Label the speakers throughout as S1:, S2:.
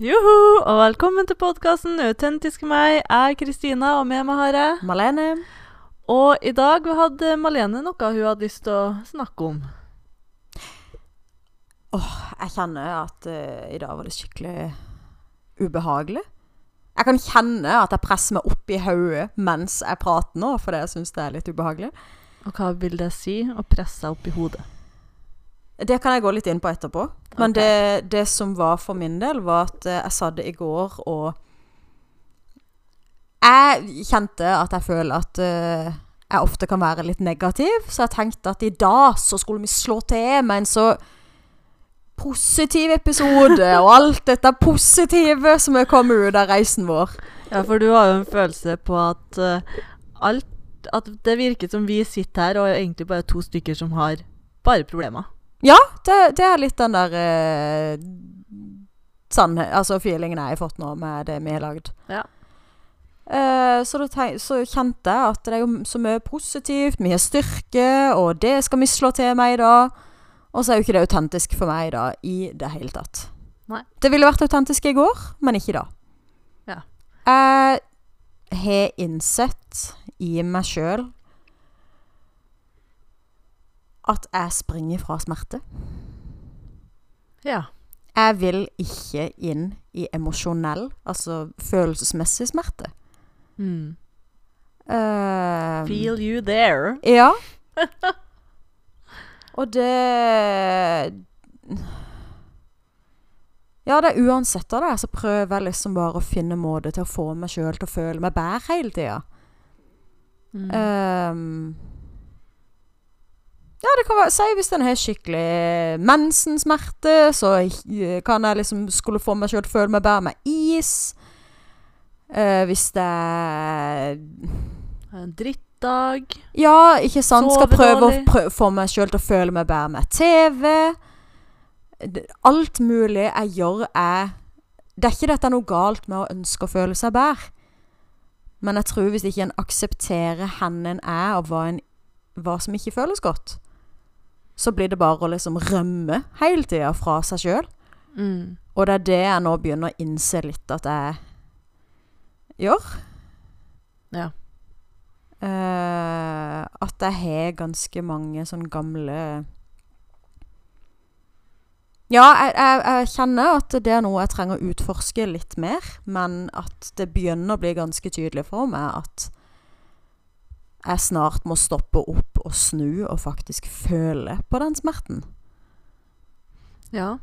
S1: Joho, og velkommen til podkasten Autentiske meg. Jeg er Kristina, og med meg har jeg
S2: Malene.
S1: Og i dag vi hadde Malene noe hun hadde lyst til å snakke om.
S2: Jeg kjenner at eh, i dag var det skikkelig ubehagelig. Jeg kan kjenne at jeg presser meg opp i hodet mens jeg prater nå, fordi jeg syns det er litt ubehagelig.
S1: Og hva vil det si å presse seg opp i hodet?
S2: Det kan jeg gå litt inn på etterpå. Men
S1: Ok.
S2: det, det som var for min del, var at eh, jeg sa det i går, og Jeg kjente at jeg føler at eh, jeg ofte kan være litt negativ, så jeg tenkte at i dag så skulle vi slå til med en så positiv episode, og alt dette positive som er kommet ut av reisen vår.
S1: Ja, for du har jo en følelse på at eh, alt At det virker som vi sitter her og er egentlig bare to stykker som har bare problemer.
S2: Ja, det, det er litt den der eh, sannhe- Altså feelingen jeg har fått nå med det vi har lagd.
S1: Ja.
S2: Eh, så, da tenk, så kjente jeg at det er jo m- så mye positivt. Vi har styrke, og det skal vi slå til med i dag. Og så er jo ikke det autentisk for meg i dag i det hele tatt.
S1: Nei.
S2: Det ville vært autentisk i går, men ikke i dag.
S1: Ja.
S2: Jeg har innsett i meg sjøl at jeg springer fra smerte.
S1: Ja.
S2: Jeg vil ikke inn i emosjonell, altså følelsesmessig smerte.
S1: Mm.
S2: Eh,
S1: Feel you there.
S2: Ja. Og det Ja, det er uansett av det, så prøver jeg liksom bare å finne en måte til å få meg sjøl til å føle meg bedre hele tida.
S1: Mm.
S2: Ehm, ja, det kan være Si hvis en har skikkelig mensensmerte, så eh, kan jeg liksom skulle få meg sjøl til å føle meg bedre med is. Eh, hvis det er
S1: En drittdag.
S2: Ja, ikke sant. Skal
S1: Sove
S2: prøve å
S1: dårlig.
S2: prø få meg sjøl til å føle meg bedre med TV. Det- Alt mulig jeg gjør, er Det er ikke dette noe galt med å ønske å føle seg bedre. Men jeg tror hvis ikke en aksepterer hen en er, og hva, en, hva som ikke føles godt, så blir det bare å liksom rømme hele tida fra seg sjøl.
S1: Mm.
S2: Og det er det jeg nå begynner å innse litt at jeg gjør.
S1: Ja.
S2: Eh, at jeg har ganske mange sånn gamle Ja, jeg, jeg, jeg kjenner at det er noe jeg trenger å utforske litt mer, men at det begynner å bli ganske tydelig for meg at jeg snart må stoppe opp og snu og faktisk føle på den smerten.
S1: Ja.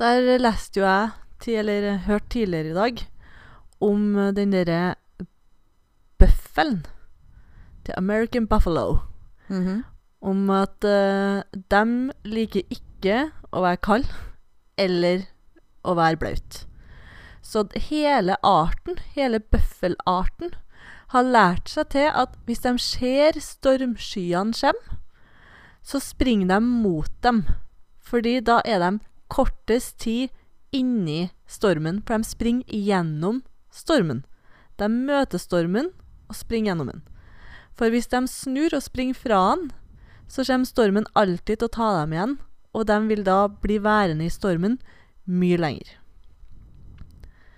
S1: Der leste jo jeg, ti- eller hørte tidligere i dag, om eh, den derre bøffelen til American Buffalo. Om at eh, dem liker ikke å være kald eller å være blaut. Så d- hele arten, hele bøffelarten, har lært seg til at hvis de ser stormskyene komme, så springer de mot dem. Fordi da er de kortest tid inni stormen, for de springer gjennom stormen. De møter stormen og springer gjennom den. For hvis de snur og springer fra den, så kommer stormen alltid til å ta dem igjen, og de vil da bli værende i stormen mye lenger.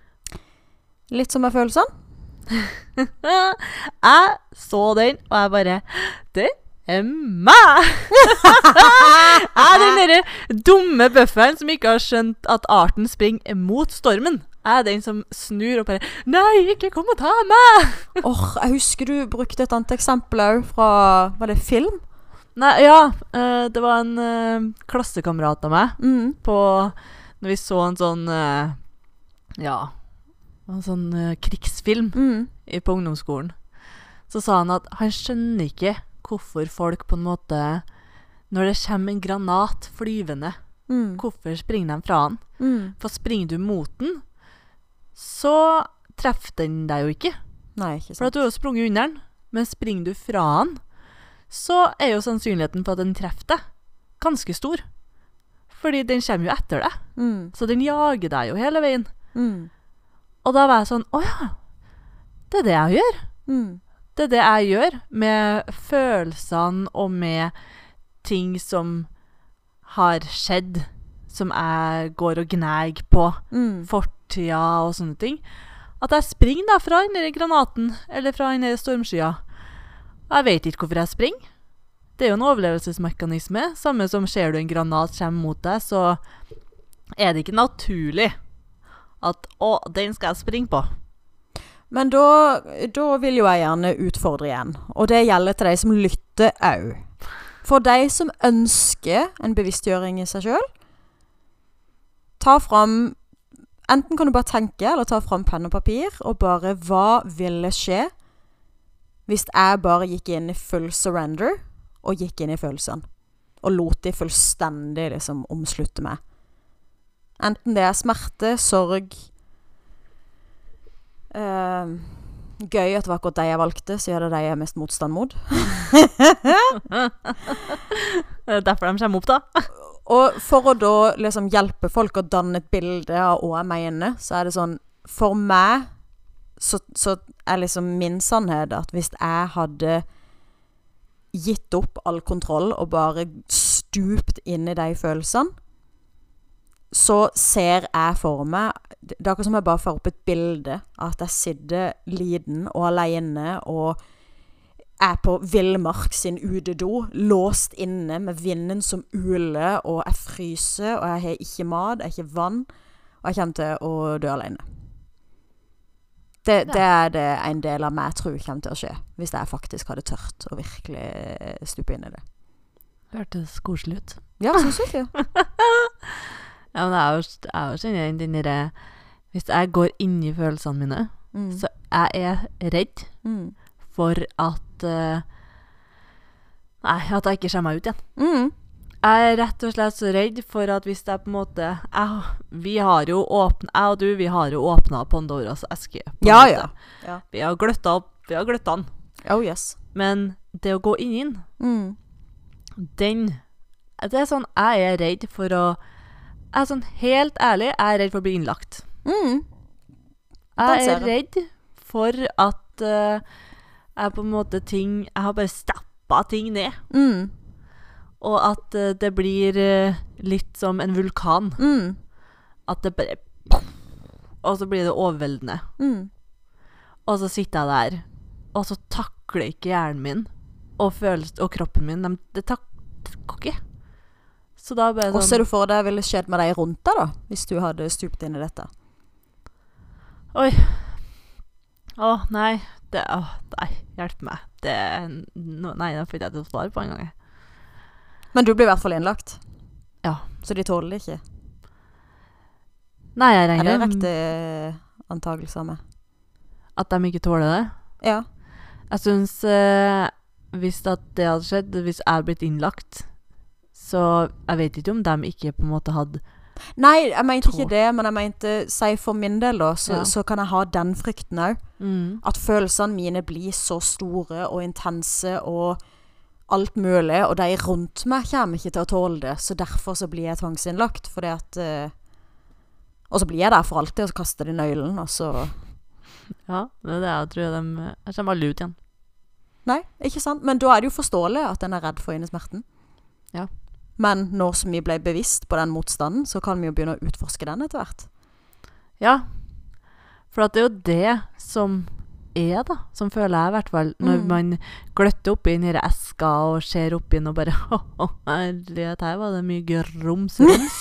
S2: Litt som jeg føler sånn.
S1: jeg så den, og jeg bare Det er meg! jeg er den derre dumme bøffelen som ikke har skjønt at arten springer mot stormen. Jeg er den som snur og bare Nei, ikke kom og ta meg!
S2: Åh, Jeg husker du brukte et annet eksempel òg fra Var det film?
S1: Nei, ja. eh, det var en eh, klassekamerat av meg
S2: Mm.
S1: på Når vi så en sånn eh, Ja, en sånn eh, krigsfilm
S2: Mm.
S1: i, på ungdomsskolen, så sa han at han skjønner ikke hvorfor folk på en måte Når det kommer en granat flyvende,
S2: Mm.
S1: hvorfor springer de fra han?
S2: Mm.
S1: For springer du mot den, så treffer den deg jo ikke.
S2: Nei, ikke
S1: For at
S2: sant.
S1: du har jo sprunget under den, men springer du fra den, så er jo sannsynligheten for at den treffer deg, ganske stor. Fordi den kommer jo etter deg.
S2: Mm.
S1: Så den jager deg jo hele veien.
S2: Mm.
S1: Og da var jeg sånn Å ja. Det er det jeg gjør.
S2: Mm.
S1: Det er det jeg gjør med følelsene og med ting som har skjedd, som jeg går og gnager på
S2: Mm.
S1: fortida og sånne ting. At jeg springer da fra den der granaten eller fra den der stormskya. Jeg vet ikke hvorfor jeg springer. Det er jo en overlevelsesmekanisme. Samme som ser du en granat komme mot deg, så er det ikke naturlig at 'Å, den skal jeg springe på'.
S2: Men da, da vil jo jeg gjerne utfordre igjen. Og det gjelder til de som lytter òg. For de som ønsker en bevisstgjøring i seg sjøl, ta fram Enten kan du bare tenke, eller ta fram penn og papir, og bare Hva ville skje hvis jeg bare gikk inn i full surrender, og gikk inn i følelsene? Og lot de fullstendig liksom omslutte meg. Enten det er smerte, sorg, Eh, gøy at det var akkurat de jeg valgte, så er det de jeg er mest motstand mot.
S1: Det er derfor de kommer opp, da.
S2: Og for å da liksom hjelpe folk å danne et bilde av hva jeg mener, så er det sånn For meg så, så er liksom min sannhet at hvis jeg hadde gitt opp all kontroll og bare stupt inn i de følelsene, så ser jeg for meg Det er akkurat som jeg bare får opp et bilde av at jeg sitter liten og aleine og er på villmark sin utedo, låst inne med vinden som uler, og jeg fryser, og jeg har ikke mat, jeg har ikke vann, og jeg kommer til å dø alene. Det, det er det en del av meg tror kommer til å skje, hvis jeg faktisk hadde tørt å virkelig eh, stupe inn i det.
S1: Hørtes koselig ut.
S2: Ja, syns du ikke?
S1: Ja, men det er jo, det er jo kjenner den derre Hvis jeg går inn i følelsene mine,
S2: Mm.
S1: så jeg er redd
S2: Mm.
S1: for at eh, Nei, at jeg ikke kommer meg ut igjen.
S2: Mm.
S1: Jeg er rett og slett så redd for at hvis jeg på en måte jeg, Vi har jo åpna Jeg og du, vi har jo åpna Pandoras eske. på en
S2: Ja,
S1: måte.
S2: ja.
S1: Vi har gløtta opp, vi har gløtta den.
S2: Oh yes.
S1: Men det å gå inn i den,
S2: Mm.
S1: den Det er sånn jeg er redd for å Jeg er sånn helt ærlig, jeg er redd for å bli innlagt.
S2: Mm. Den
S1: Jeg
S2: ser
S1: er
S2: jeg.
S1: redd for at eh, jeg på en måte ting Jeg har bare stappa ting ned.
S2: Mm.
S1: Og at eh, det blir eh, litt som en vulkan.
S2: Mm.
S1: At det bare Og så blir det overveldende.
S2: Mm.
S1: Og så sitter jeg der, og så takler ikke hjernen min og, følelsen, og kroppen min de, Det takler ikke. Så da bare
S2: Og
S1: sånn
S2: ser du for deg ville skjedd med deg rundt deg, da, hvis du hadde stupt inn i dette?
S1: Å, nei. Det, å, nei, hjelp meg. Det, nå- nei, nå fikk jeg ikke svar på engang.
S2: Men du blir i hvert fall innlagt.
S1: Ja.
S2: Så de tåler det ikke.
S1: Nei, jeg
S2: Er det
S1: regner med
S2: riktig eh, antakelse av meg?
S1: at de ikke tåler det.
S2: Ja.
S1: Jeg syns eh, hvis at det hadde skjedd, hvis jeg hadde blitt innlagt Så jeg vet ikke om de ikke på en måte hadde
S2: Nei, jeg mente ikke
S1: Tå.
S2: det, men jeg mente Si for min del, da, så,
S1: Ja.
S2: så kan jeg ha den frykten òg. At følelsene mine blir så store og intense og alt mulig, og de rundt meg kommer ikke til å tåle det, så derfor så blir jeg tvangsinnlagt. Fordi at eh, Og så blir jeg der for alltid, og så kaster de nøkkelen, og så
S1: Ja, det er det jeg tror. De jeg kommer alle ut igjen.
S2: Nei, ikke sant? Men da er det jo forståelig at en er redd for innesmerten.
S1: Ja.
S2: Men når som vi ble bevisst på den motstanden, så kan vi jo begynne å utforske den etter hvert.
S1: Ja. For at det er jo det som er, da. Som føler jeg, i hvert fall. Når
S2: Mm.
S1: man gløtter oppi den her eska og ser oppi den og bare Å, herlighet, her var det mye grums-rums.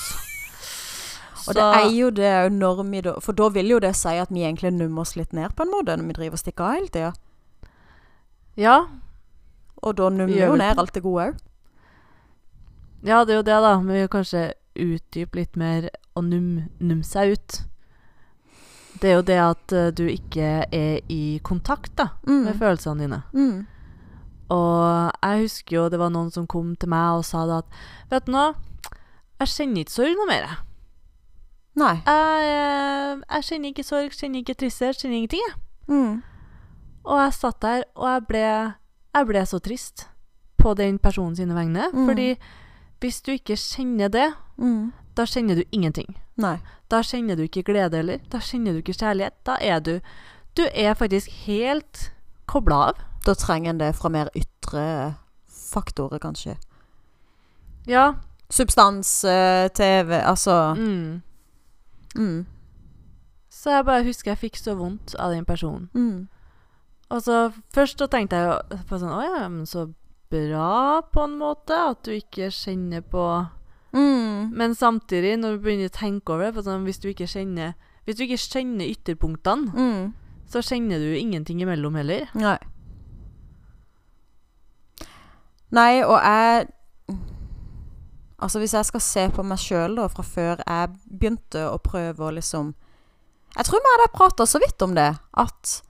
S2: Og det er jo det jo når vi da For da vil jo det si at vi egentlig nummer oss litt ned på en måte, når vi driver og stikker av hele tida.
S1: Ja.
S2: Og da nummer
S1: Vi
S2: vi
S1: gjør
S2: jo
S1: vel
S2: ned alt det gode òg.
S1: Ja, det er jo det, da. Men vi kan kanskje utdype litt mer og num, num seg ut. Det er jo det at eh, du ikke er i kontakt da,
S2: Mm.
S1: med følelsene dine.
S2: Mm.
S1: Og jeg husker jo det var noen som kom til meg og sa det at Vet du nå, jeg kjenner ikke sorg noe mer. jeg.
S2: Nei.
S1: Jeg, eh, jeg kjenner ikke sorg, kjenner ikke tristhet, kjenner ingenting. Jeg.
S2: Mm.
S1: Og jeg satt der, og jeg ble, jeg ble så trist på den personen sine vegne.
S2: Mm.
S1: Fordi hvis du ikke kjenner det,
S2: Mm.
S1: da kjenner du ingenting.
S2: Nei.
S1: Da kjenner du ikke glede heller. Da kjenner du ikke kjærlighet. Da er du Du er faktisk helt kobla av.
S2: Da trenger en det fra mer ytre faktorer, kanskje.
S1: Ja.
S2: Substans, eh, TV, altså
S1: Mm.
S2: mm,
S1: Så jeg bare husker jeg fikk så vondt av den personen.
S2: mm,
S1: Og så først da tenkte jeg jo på sånn Å ja, men så bra, på en måte, at du ikke kjenner på
S2: mm,
S1: Men samtidig, når du begynner å tenke over det, for sånn, hvis du ikke kjenner hvis du ikke kjenner ytterpunktene,
S2: mm.
S1: så kjenner du ingenting imellom heller.
S2: Nei. Nei, og jeg Altså, hvis jeg skal se på meg sjøl, da, fra før jeg begynte å prøve å liksom Jeg tror vi hadde prata så vidt om det, at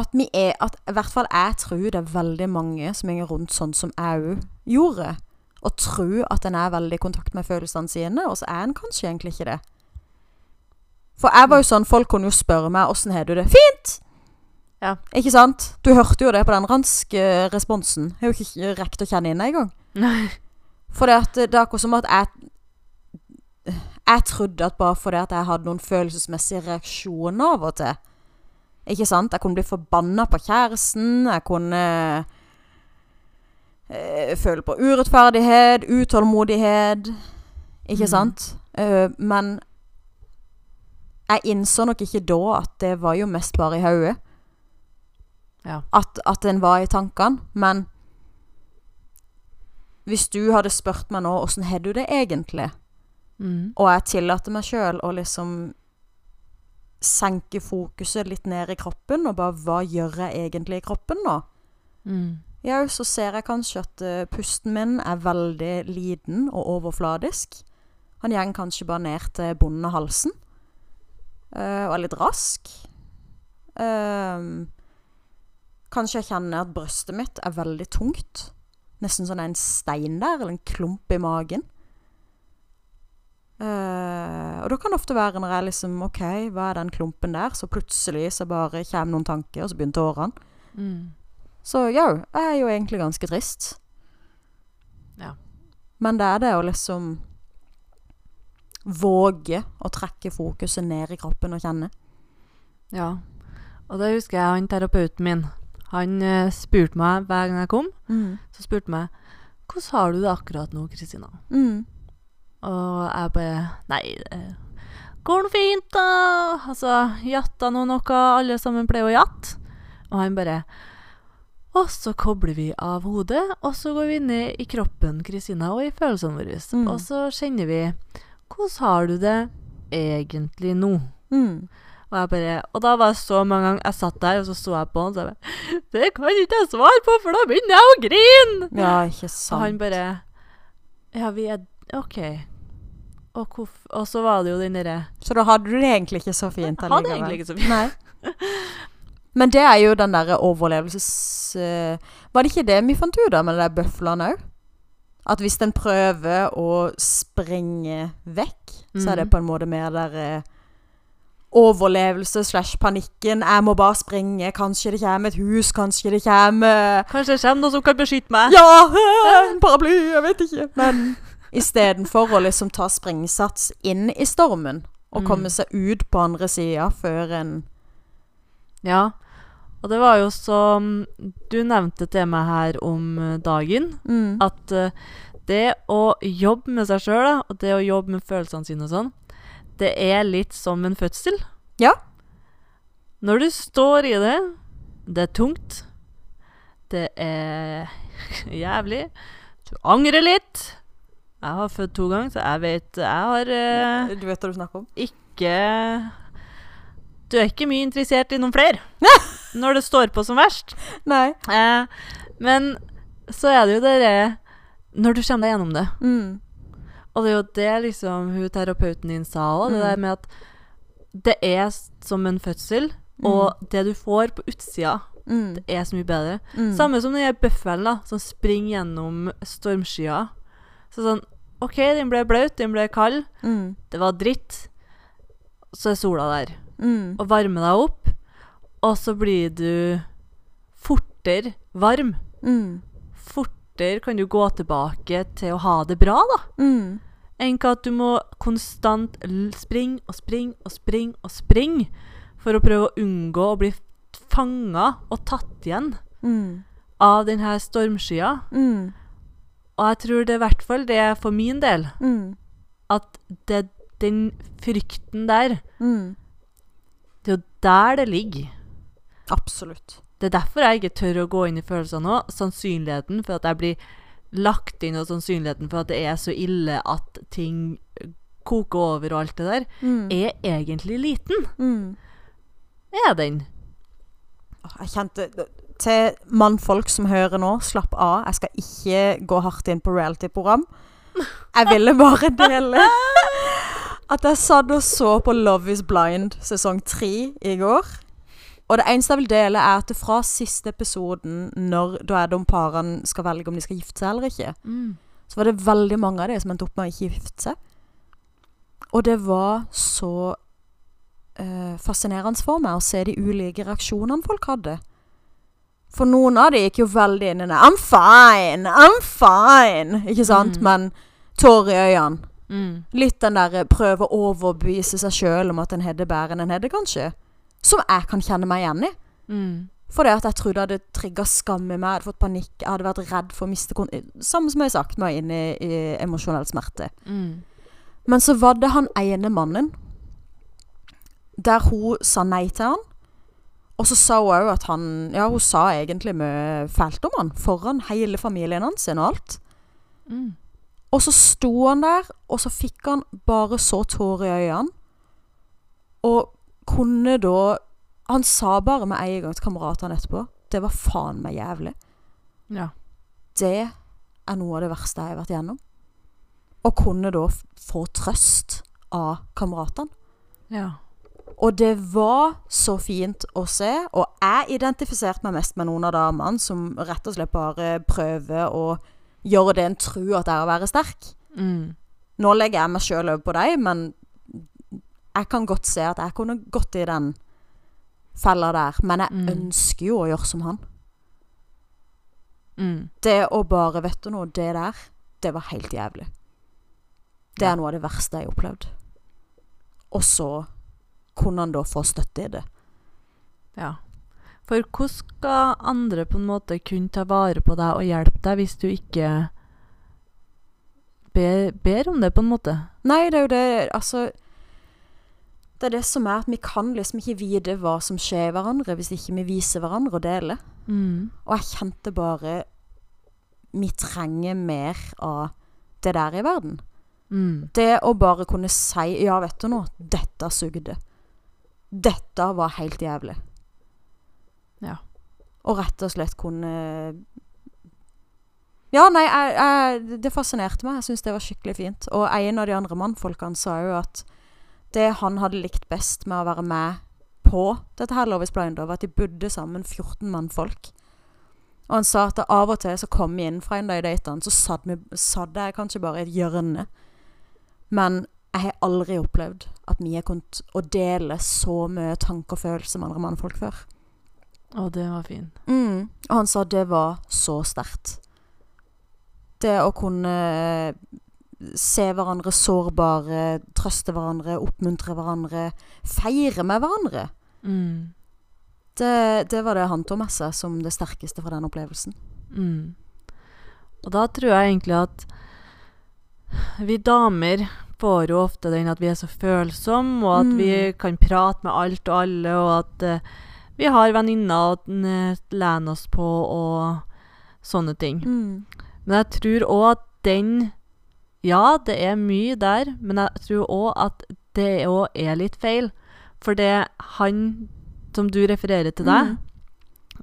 S2: at vi er at I hvert fall jeg tror det er veldig mange som går rundt sånn som jeg òg gjorde. Og tror at en er veldig i kontakt med følelsene sine, og så er en kanskje egentlig ikke det. For jeg var jo sånn, folk kunne jo spørre meg 'åssen har du det?' Fint!
S1: Ja.
S2: Ikke sant? Du hørte jo det på den ranske eh, responsen. Jeg har jo ikke rekt å kjenne inn det engang.
S1: Nei.
S2: For det, at, det er akkurat som at jeg Jeg trodde at bare fordi at jeg hadde noen følelsesmessige reaksjoner av og til Ikke sant? Jeg kunne bli forbanna på kjæresten, jeg kunne eh, føle på urettferdighet, utålmodighet Ikke
S1: Mm.
S2: sant? Eh, men jeg innså nok ikke da at det var jo mest bare i hodet.
S1: Ja.
S2: At, at en var i tankene. Men hvis du hadde spurt meg nå åssen har du det egentlig,
S1: Mm.
S2: og jeg tillater meg sjøl å liksom senke fokuset litt ned i kroppen, og bare hva gjør jeg egentlig i kroppen nå?
S1: Mm.
S2: Ja, så ser jeg kanskje at eh, pusten min er veldig liten og overfladisk. Han går kanskje bare ned til bunnen av halsen. eh, og er litt rask. Ehm, kanskje jeg kjenner at brøstet mitt er veldig tungt. Nesten sånn en stein der, eller en klump i magen. Eh, og da kan det ofte være når jeg liksom OK, hva er den klumpen der? Så plutselig så bare kommer noen tanker, og så begynner tårene.
S1: Mm.
S2: Så ja, jeg er jo egentlig ganske trist.
S1: Ja.
S2: Men det er det å liksom Våge å trekke fokuset ned i kroppen og kjenne.
S1: Ja. Og da husker jeg han terapeuten min. Han eh, spurte meg hver gang jeg kom,
S2: Mm.
S1: så spurte han meg hvordan har du det akkurat nå, Kristina?
S2: Mm.
S1: Og jeg bare Nei, det går nå fint, da. Altså, jatta nå noe, alle sammen pleier å jatte. Og han bare Og så kobler vi av hodet, og så går vi ned i kroppen, Kristina, og i følelsene våre.
S2: Mm.
S1: Og så kjenner vi Hvordan har du det egentlig nå?
S2: Mm.
S1: Og, jeg bare, og da var det så mange ganger jeg satt der, og så så jeg på han, og så jeg bare Det kan ikke jeg svare på, for da begynner jeg å grine!
S2: Ja,
S1: Så
S2: ikke sant.
S1: han bare Ja, vi er OK. Og, hvorf- og så var det jo den derre
S2: Så da hadde du det egentlig ikke så fint
S1: Han hadde egentlig ikke så mye.
S2: Nei. Men det er jo den derre overlevelses... eh, var det ikke det vi fant ut av med de der bøflene òg? At hvis en prøver å springe vekk, så er det
S1: Mhm.
S2: på en måte mer der eh, Overlevelse slash panikken. 'Jeg må bare springe. Kanskje det kommer et hus. Kanskje det kommer
S1: Kanskje det kommer noen som kan beskytte meg.
S2: Ja! eh, En paraply! Jeg vet ikke. Men istedenfor å liksom ta springsats inn i stormen og
S1: Mm.
S2: komme seg ut på andre sida før en
S1: Ja. Og det var jo som Du nevnte til meg her om eh, dagen
S2: mm.
S1: at eh, det å jobbe med seg sjøl, og det å jobbe med følelsene sine og sånn, det er litt som en fødsel.
S2: Ja.
S1: Når du står i det, det er tungt, det er jævlig, du angrer litt. Jeg har født to ganger, så jeg vet Jeg har eh,
S2: Du vet hva du snakker om?
S1: ikke Du er ikke mye interessert i noen flere når det står på som verst.
S2: Nei.
S1: Eh, men så er det jo det der- Når du kommer deg gjennom det
S2: Mm.
S1: Og det er jo det liksom hun terapeuten din sa òg, det
S2: Mm.
S1: der med at det er s- som en fødsel, og det du får på utsida,
S2: Mm.
S1: er så mye bedre.
S2: Mm.
S1: Samme som den der bøffelen da, som springer gjennom stormskya. Så sånn OK, den ble blaut, den ble kald,
S2: Mm.
S1: det var dritt. Så er sola der
S2: Mm.
S1: og varmer deg opp, og så blir du fortere varm.
S2: Mm.
S1: fortere kan du gå tilbake til å ha det bra, da.
S2: Mm.
S1: Enn hva at du må konstant l- springe og springe og springe og springe for å prøve å unngå å bli fanga og tatt igjen
S2: Mm.
S1: av denne stormskya.
S2: Mm.
S1: Og jeg tror det er i hvert fall det er for min del
S2: Mm.
S1: at det, den frykten der
S2: Mm.
S1: Det er jo der det ligger.
S2: Absolutt.
S1: Det er derfor jeg ikke tør å gå inn i følelser nå. Sannsynligheten for at jeg blir lagt inn, og sannsynligheten for at det er så ille at ting koker over og alt det der,
S2: Mm.
S1: er egentlig liten.
S2: Mm.
S1: Er den.
S2: Åh, Jeg kjente Til mannfolk som hører nå, slapp av. Jeg skal ikke gå hardt inn på reality-program. Jeg ville bare dele at jeg satt og så på Love Is Blind sesong tre i går. Og det eneste jeg vil dele, er at fra siste episoden, når da er de parene skal velge om de skal gifte seg eller ikke, så var det veldig mange av de som endte opp med å ikke gifte seg. Og det var så eh, fascinerende for meg å se de ulike reaksjonene folk hadde. For noen av de gikk jo veldig inn i det. I'm fine! I'm fine! Ikke sant?
S1: Mm.
S2: Men tårer i øynene.
S1: Mm.
S2: Litt den der eh, prøve å overbevise seg sjøl om at en har det bedre enn en har det, kanskje. Som jeg kan kjenne meg igjen i.
S1: Mm.
S2: For det at jeg trodde jeg hadde trigga skam i meg, jeg hadde fått panikk, jeg hadde vært redd for å miste kon... Samme som jeg har sagt, nå er jeg inne i, i emosjonell smerte.
S1: Mm.
S2: Men så var det han ene mannen, der hun sa nei til han. Og så sa hun òg at han Ja, hun sa egentlig mye fælt om han foran hele familien hans sin og alt.
S1: Mm.
S2: Og så sto han der, og så fikk han bare så tårer i øynene. Og kunne da Han sa bare med en gang til kameratene etterpå Det var faen meg jævlig.
S1: Ja.
S2: Det er noe av det verste jeg har vært igjennom. Og kunne da f- få trøst av kameratene.
S1: Ja.
S2: Og det var så fint å se, og jeg identifiserte meg mest med noen av damene som rett og slett bare prøver å gjøre det en tror at er å være sterk.
S1: Mm.
S2: Nå legger jeg meg sjøl over på deg, men jeg kan godt se at jeg kunne gått i den fella der. Men jeg
S1: Mm.
S2: ønsker jo å gjøre som han.
S1: Mm.
S2: Det å bare, vet du noe, det der, det var helt jævlig. Det
S1: Ja.
S2: er noe av det verste jeg har opplevd. Og så kunne han da få støtte i det.
S1: Ja. For hvordan skal andre på en måte kunne ta vare på deg og hjelpe deg hvis du ikke ber, ber om det, på en måte?
S2: Nei, det er jo det Altså Det er det som er at vi kan liksom ikke vite hva som skjer hverandre, hvis ikke vi viser hverandre og deler.
S1: Mm.
S2: Og jeg kjente bare Vi trenger mer av det der i verden.
S1: Mm.
S2: Det å bare kunne si Ja, vet du nå, dette sugde. Dette var helt jævlig.
S1: Ja.
S2: Og rett og slett kunne Ja, nei, jeg, jeg, det fascinerte meg. Jeg syns det var skikkelig fint. Og en av de andre mannfolkene sa jo at det han hadde likt best med å være med på dette her Love is blind, var at de bodde sammen 14 mannfolk. Og han sa at av og til så kom vi inn fra en av de datene, så satt, vi, satt jeg kanskje bare i et hjørne. Men jeg har aldri opplevd at vi har kunnet å dele så mye tanker og følelser med andre mannfolk før.
S1: Å, det var fint.
S2: Mm. Og han sa det var så sterkt. Det å kunne eh, se hverandre sårbare, trøste hverandre, oppmuntre hverandre, feire med hverandre.
S1: Mm.
S2: Det, det var det han tok med seg som det sterkeste fra den opplevelsen.
S1: Mm. Og da tror jeg egentlig at vi damer får jo ofte den at vi er så følsomme, og at
S2: Mm.
S1: vi kan prate med alt og alle, og at eh, vi har venninner å eh, lene oss på, og sånne ting.
S2: Mm.
S1: Men jeg tror òg at den Ja, det er mye der, men jeg tror òg at det òg er litt feil. For det han som du refererer til deg,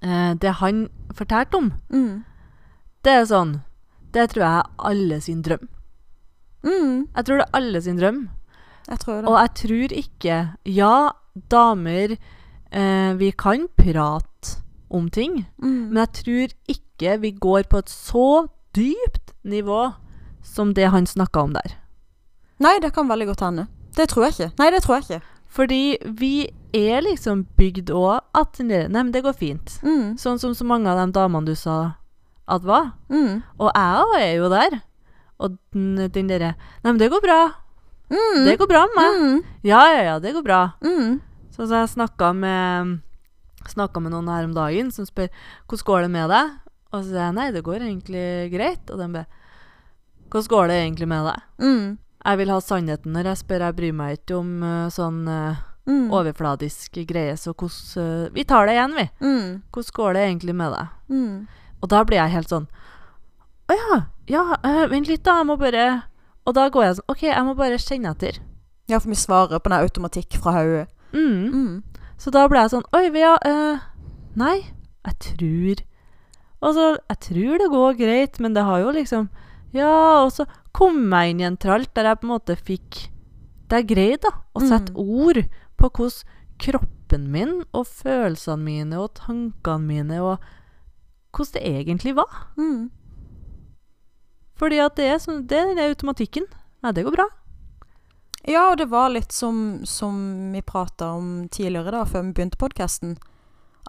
S1: eh, det han fortalte om,
S2: Mm.
S1: det er sånn Det tror jeg er alle sin drøm.
S2: Mm.
S1: Jeg tror det er alle sin drøm.
S2: Jeg tror det.
S1: Og jeg tror ikke Ja, damer eh, Vi kan prate om ting,
S2: Mm.
S1: men jeg tror ikke vi går på et så dypt nivå som det han snakka om der.
S2: Nei, det kan veldig godt hende. Det tror jeg ikke. Nei, det tror jeg ikke.
S1: Fordi vi er liksom bygd òg at den der- Nei, men det går fint.
S2: Mm.
S1: Sånn som så mange av de damene du sa at var.
S2: Mm.
S1: Og jeg òg er jo der. Og den, den derre Nei, men det går bra.
S2: Mm.
S1: Det går bra med meg.
S2: Mm.
S1: Ja, ja, ja, det går bra.
S2: Mm.
S1: Sånn som jeg snakka med Snakka med noen her om dagen som spør hvordan går det med deg? Og så sier jeg nei, det går egentlig greit. Og de bare Hvordan går det egentlig med deg?
S2: Mm.
S1: Jeg vil ha sannheten når jeg spør. Jeg bryr meg ikke om eh, sånn eh,
S2: Mm.
S1: overfladisk greie, så hvordan eh, Vi tar det igjen, vi.
S2: Mm.
S1: Hvordan går det egentlig med deg?
S2: Mm.
S1: Og da blir jeg helt sånn Å ja, ja, eh, vent litt, da. Jeg må bare Og da går jeg sånn OK, jeg må bare kjenne etter.
S2: Ja, for vi svarer på den automatikk fra hodet.
S1: Mm.
S2: Mm.
S1: Så da ble jeg sånn Oi, Vea. eh, nei, jeg tror Altså, jeg tror det går greit, men det har jo liksom Ja, og så kom jeg inn i en tralt der jeg på en måte fikk Det er greit, da, å sette
S2: Mm.
S1: ord på hvordan kroppen min og følelsene mine og tankene mine og hvordan det egentlig var.
S2: Mm.
S1: Fordi at det er sånn Det er den der automatikken. Nei, det går bra.
S2: Ja, og det var litt som, som vi prata om tidligere, da, før vi begynte podkasten.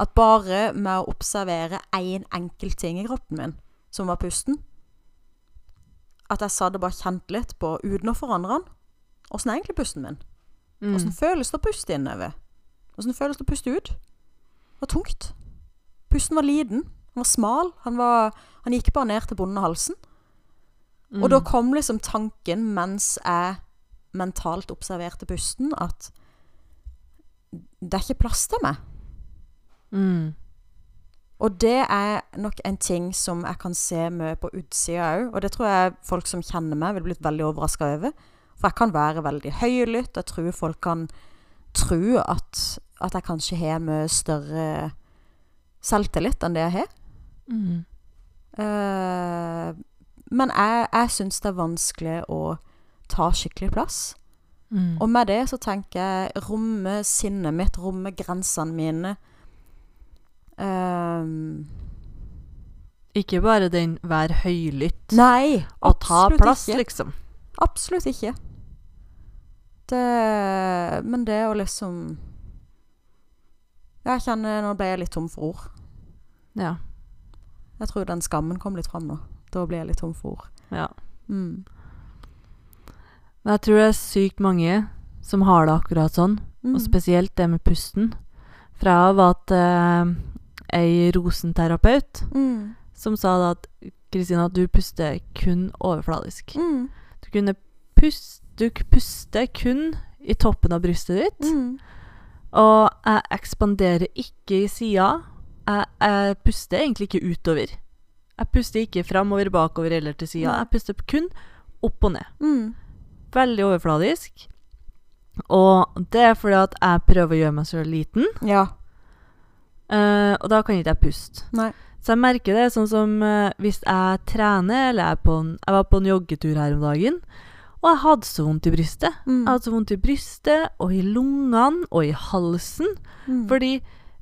S2: At bare med å observere én enkelt ting i kroppen min, som var pusten At jeg sa det bare kjente litt på, uten å forandre den Åssen er egentlig pusten min? Åssen føles det å puste innover? Åssen føles det å puste ut? Det var tungt. Pusten var liten. Han var smal. Han, var, han gikk bare ned til bunnen av halsen. Og da kom liksom tanken mens jeg mentalt observerte pusten, at det er ikke plass til meg.
S1: mm.
S2: Og det er nok en ting som jeg kan se mye på utsida òg, og det tror jeg folk som kjenner meg, vil bli veldig overraska over. For jeg kan være veldig høylytt, og jeg tror folk kan tro at, at jeg kanskje har mye større selvtillit enn det jeg har.
S1: Mm.
S2: Eh, men jeg, jeg syns det er vanskelig å ta skikkelig plass.
S1: Mm.
S2: Og med det så tenker jeg romme sinnet mitt, romme grensene mine. Ehm,
S1: Ikke bare den 'vær høylytt'
S2: nei,
S1: og ta
S2: absolutt
S1: plass,
S2: ikke.
S1: liksom.
S2: Absolutt ikke. Det, men det å liksom Jeg kjenner Nå ble jeg litt tom for ord.
S1: Ja.
S2: Jeg tror den skammen kom litt fram nå. Da ble jeg litt tom for ord.
S1: ja.
S2: Mm.
S1: Men jeg tror det er sykt mange som har det akkurat sånn,
S2: Mm.
S1: og spesielt det med pusten. For jeg var at eh, ei rosenterapeut
S2: mm.
S1: som sa da at Kristina, du puster kun overfladisk.
S2: Mm.
S1: Du kunne puste Du puster kun i toppen av brystet ditt.
S2: Mm.
S1: Og jeg ekspanderer ikke i sida. Jeg, jeg puster egentlig ikke utover. Jeg puster ikke framover, bakover eller til sida.
S2: Nei.
S1: Jeg puster kun opp og ned.
S2: Mm.
S1: Veldig overfladisk. Og det er fordi at jeg prøver å gjøre meg så liten,
S2: Ja.
S1: eh, og da kan ikke jeg puste.
S2: Nei.
S1: Så jeg merker det sånn som eh, hvis jeg trener, eller jeg, er på en, jeg var på en joggetur her om dagen, og jeg hadde så vondt i brystet.
S2: Mm.
S1: Jeg hadde så vondt i brystet og i lungene og i halsen.
S2: Mm.
S1: Fordi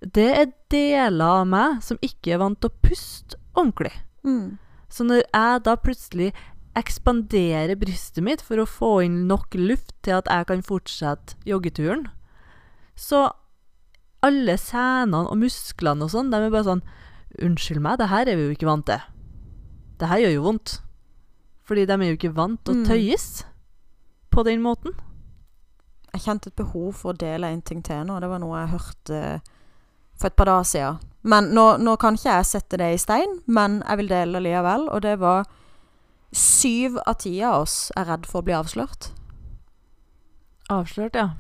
S1: det er deler av meg som ikke er vant til å puste ordentlig.
S2: mm.
S1: Så når jeg da plutselig ekspanderer brystet mitt for å få inn nok luft til at jeg kan fortsette joggeturen, så alle senene og musklene og sånn, de er bare sånn Unnskyld meg, det her er vi jo ikke vant til. Det her gjør jo vondt. Fordi de er jo ikke vant til å
S2: Mm.
S1: tøyes på den måten.
S2: Jeg kjente et behov for å dele en ting til nå. Det var noe jeg hørte eh, for et par dager siden. Men nå, nå kan ikke jeg sette det i stein, men jeg vil dele det likevel. Og det var syv av ti av oss er redd for å bli avslørt.
S1: Avslørt, ja.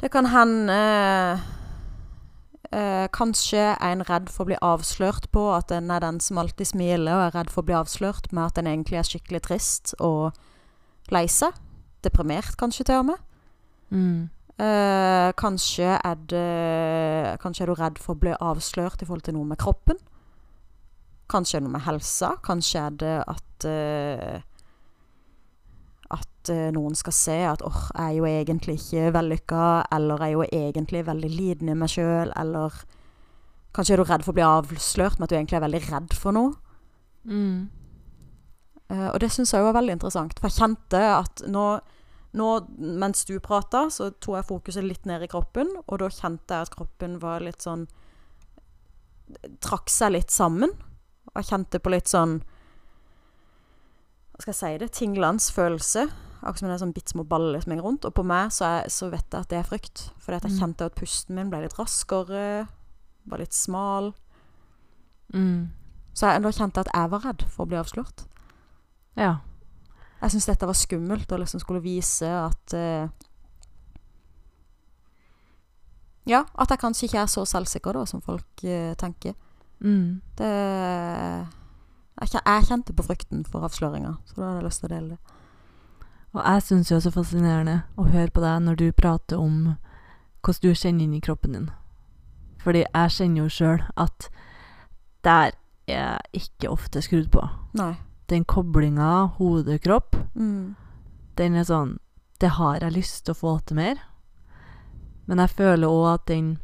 S2: Det kan hende eh, Kanskje er en redd for å bli avslørt på at en er den som alltid smiler, og er redd for å bli avslørt med at en egentlig er skikkelig trist og lei seg. Deprimert, kanskje, til og med.
S1: Mm.
S2: Eh, kanskje, er det, kanskje er du redd for å bli avslørt i forhold til noe med kroppen. Kanskje er det noe med helsa. Kanskje er det at eh, At eh, noen skal se at åh, jeg er jo egentlig ikke vellykka, eller jeg er jo egentlig veldig liten i meg sjøl, eller Kanskje er du redd for å bli avslørt med at du egentlig er veldig redd for noe.
S1: Mm.
S2: Eh, og det syns jeg jo var veldig interessant. For jeg kjente at nå, nå mens du prata, så tok jeg fokuset litt ned i kroppen. Og da kjente jeg at kroppen var litt sånn Trakk seg litt sammen. Og jeg kjente på litt sånn Hva skal jeg si det? Tinglende følelse. Akkurat som det er sånn bitte små baller som henger rundt. Og på meg så, er, så vet jeg at det er frykt. Fordi at jeg
S1: Mm.
S2: kjente at pusten min ble litt raskere, var litt smal.
S1: Mm.
S2: Så jeg, da kjente jeg at jeg var redd for å bli avslørt.
S1: Ja.
S2: Jeg syns dette var skummelt, å liksom skulle vise at eh, Ja, at jeg kanskje ikke er så selvsikker da, som folk eh, tenker.
S1: Mm.
S2: Det jeg, kjen- jeg kjente på frykten for avsløringa, så da hadde jeg lyst til å dele det.
S1: Og jeg syns jo det er så fascinerende å høre på deg når du prater om hvordan du kjenner inn i kroppen din. Fordi jeg kjenner jo sjøl at der er jeg ikke ofte skrudd på.
S2: Nei.
S1: Den koblinga hode-kropp,
S2: Mm.
S1: den er sånn Det har jeg lyst til å få til mer. Men jeg føler òg at den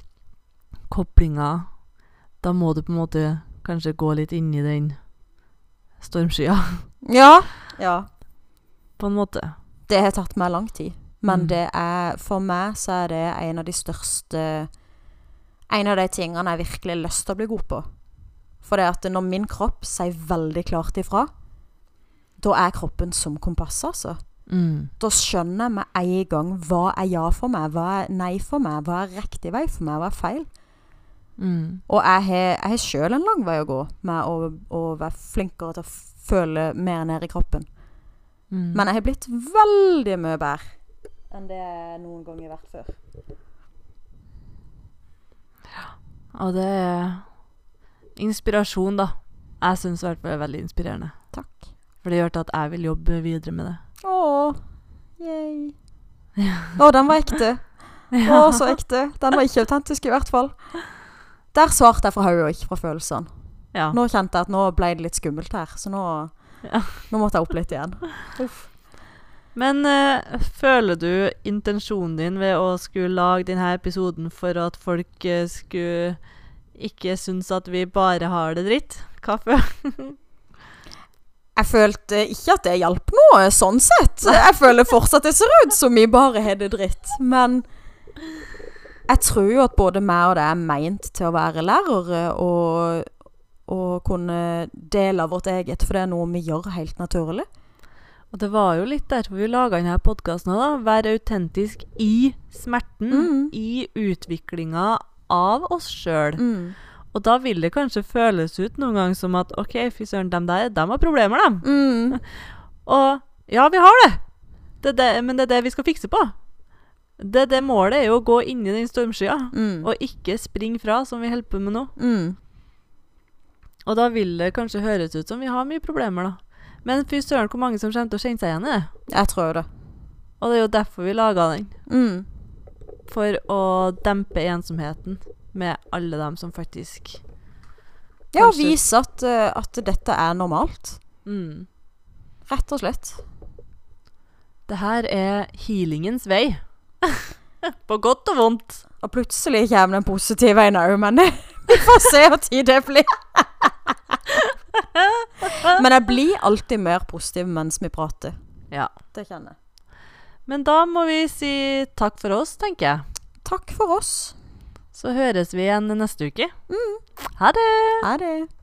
S1: koblinga Da må du på en måte kanskje gå litt inn i den stormskya,
S2: Ja. ja.
S1: på en måte.
S2: Det har tatt meg lang tid. Men
S1: Mm.
S2: det er, for meg så er det en av de største En av de tingene jeg virkelig har lyst til å bli god på. For det at når min kropp sier veldig klart ifra, da er kroppen som kompass, altså.
S1: Mm.
S2: Da skjønner jeg med en gang hva er ja for meg, hva er nei for meg, hva er riktig vei for meg, hva er feil.
S1: Mm.
S2: Og jeg har, jeg har sjøl en lang vei å gå med å, å være flinkere til å føle mer ned i kroppen.
S1: Mm.
S2: Men jeg har blitt veldig mye bedre enn det jeg noen gang har vært før.
S1: Og det er inspirasjon, da. Jeg syns i hvert fall det er veldig inspirerende.
S2: Takk.
S1: For det gjør til at jeg vil jobbe videre med det.
S2: Åh, yay. Å, den var ekte. Å, så ekte. Den var ikke autentisk i hvert fall. Der svarte jeg fra hodet og ikke fra følelsene.
S1: Ja.
S2: Nå kjente jeg at nå ble det litt skummelt her, så nå,
S1: Ja.
S2: nå måtte jeg opp litt igjen.
S1: Men eh, føler du intensjonen din ved å skulle lage denne episoden for at folk eh, skulle ikke synes at vi bare har det dritt? Hva føler
S2: Jeg følte ikke at det hjalp noe, sånn sett. Jeg føler fortsatt det ser ut som vi bare har det dritt. Men jeg tror jo at både meg og det er meint til å være lærere og, og kunne dele av vårt eget, for det er noe vi gjør helt naturlig.
S1: Og det var jo litt derfor vi laga denne podkasten òg, da. Være autentisk i smerten.
S2: Mm.
S1: I utviklinga av oss sjøl. Og da vil det kanskje føles ut noen gang som at OK, fy søren, dem der, dem har problemer, dem.
S2: Mm.
S1: Og ja, vi har det. det, er det men det er det vi skal fikse på. Det, det målet er jo å gå inn i den stormskya,
S2: Mm.
S1: og ikke springe fra, som vi holder på med nå.
S2: Mm.
S1: Og da vil det kanskje høres ut som vi har mye problemer, da. Men fy søren, hvor mange som kommer til å kjenne seg igjen i det.
S2: Jeg tror jo det.
S1: Og det er jo derfor vi laga den.
S2: Mm.
S1: For å dempe ensomheten med alle dem som faktisk
S2: Ja,
S1: Kanskje-
S2: vise at, eh, at dette er normalt.
S1: mm.
S2: Rett og slett.
S1: Det her er healingens vei. på godt og vondt.
S2: Og plutselig kommer den positive en òg, men vi får se hvor tid det blir. Men jeg blir alltid mer positiv mens vi prater.
S1: Ja.
S2: Det kjenner jeg.
S1: Men da må vi si takk for oss, tenker jeg.
S2: Takk for oss.
S1: Så høres vi igjen neste uke. Ha det!
S2: Ha det.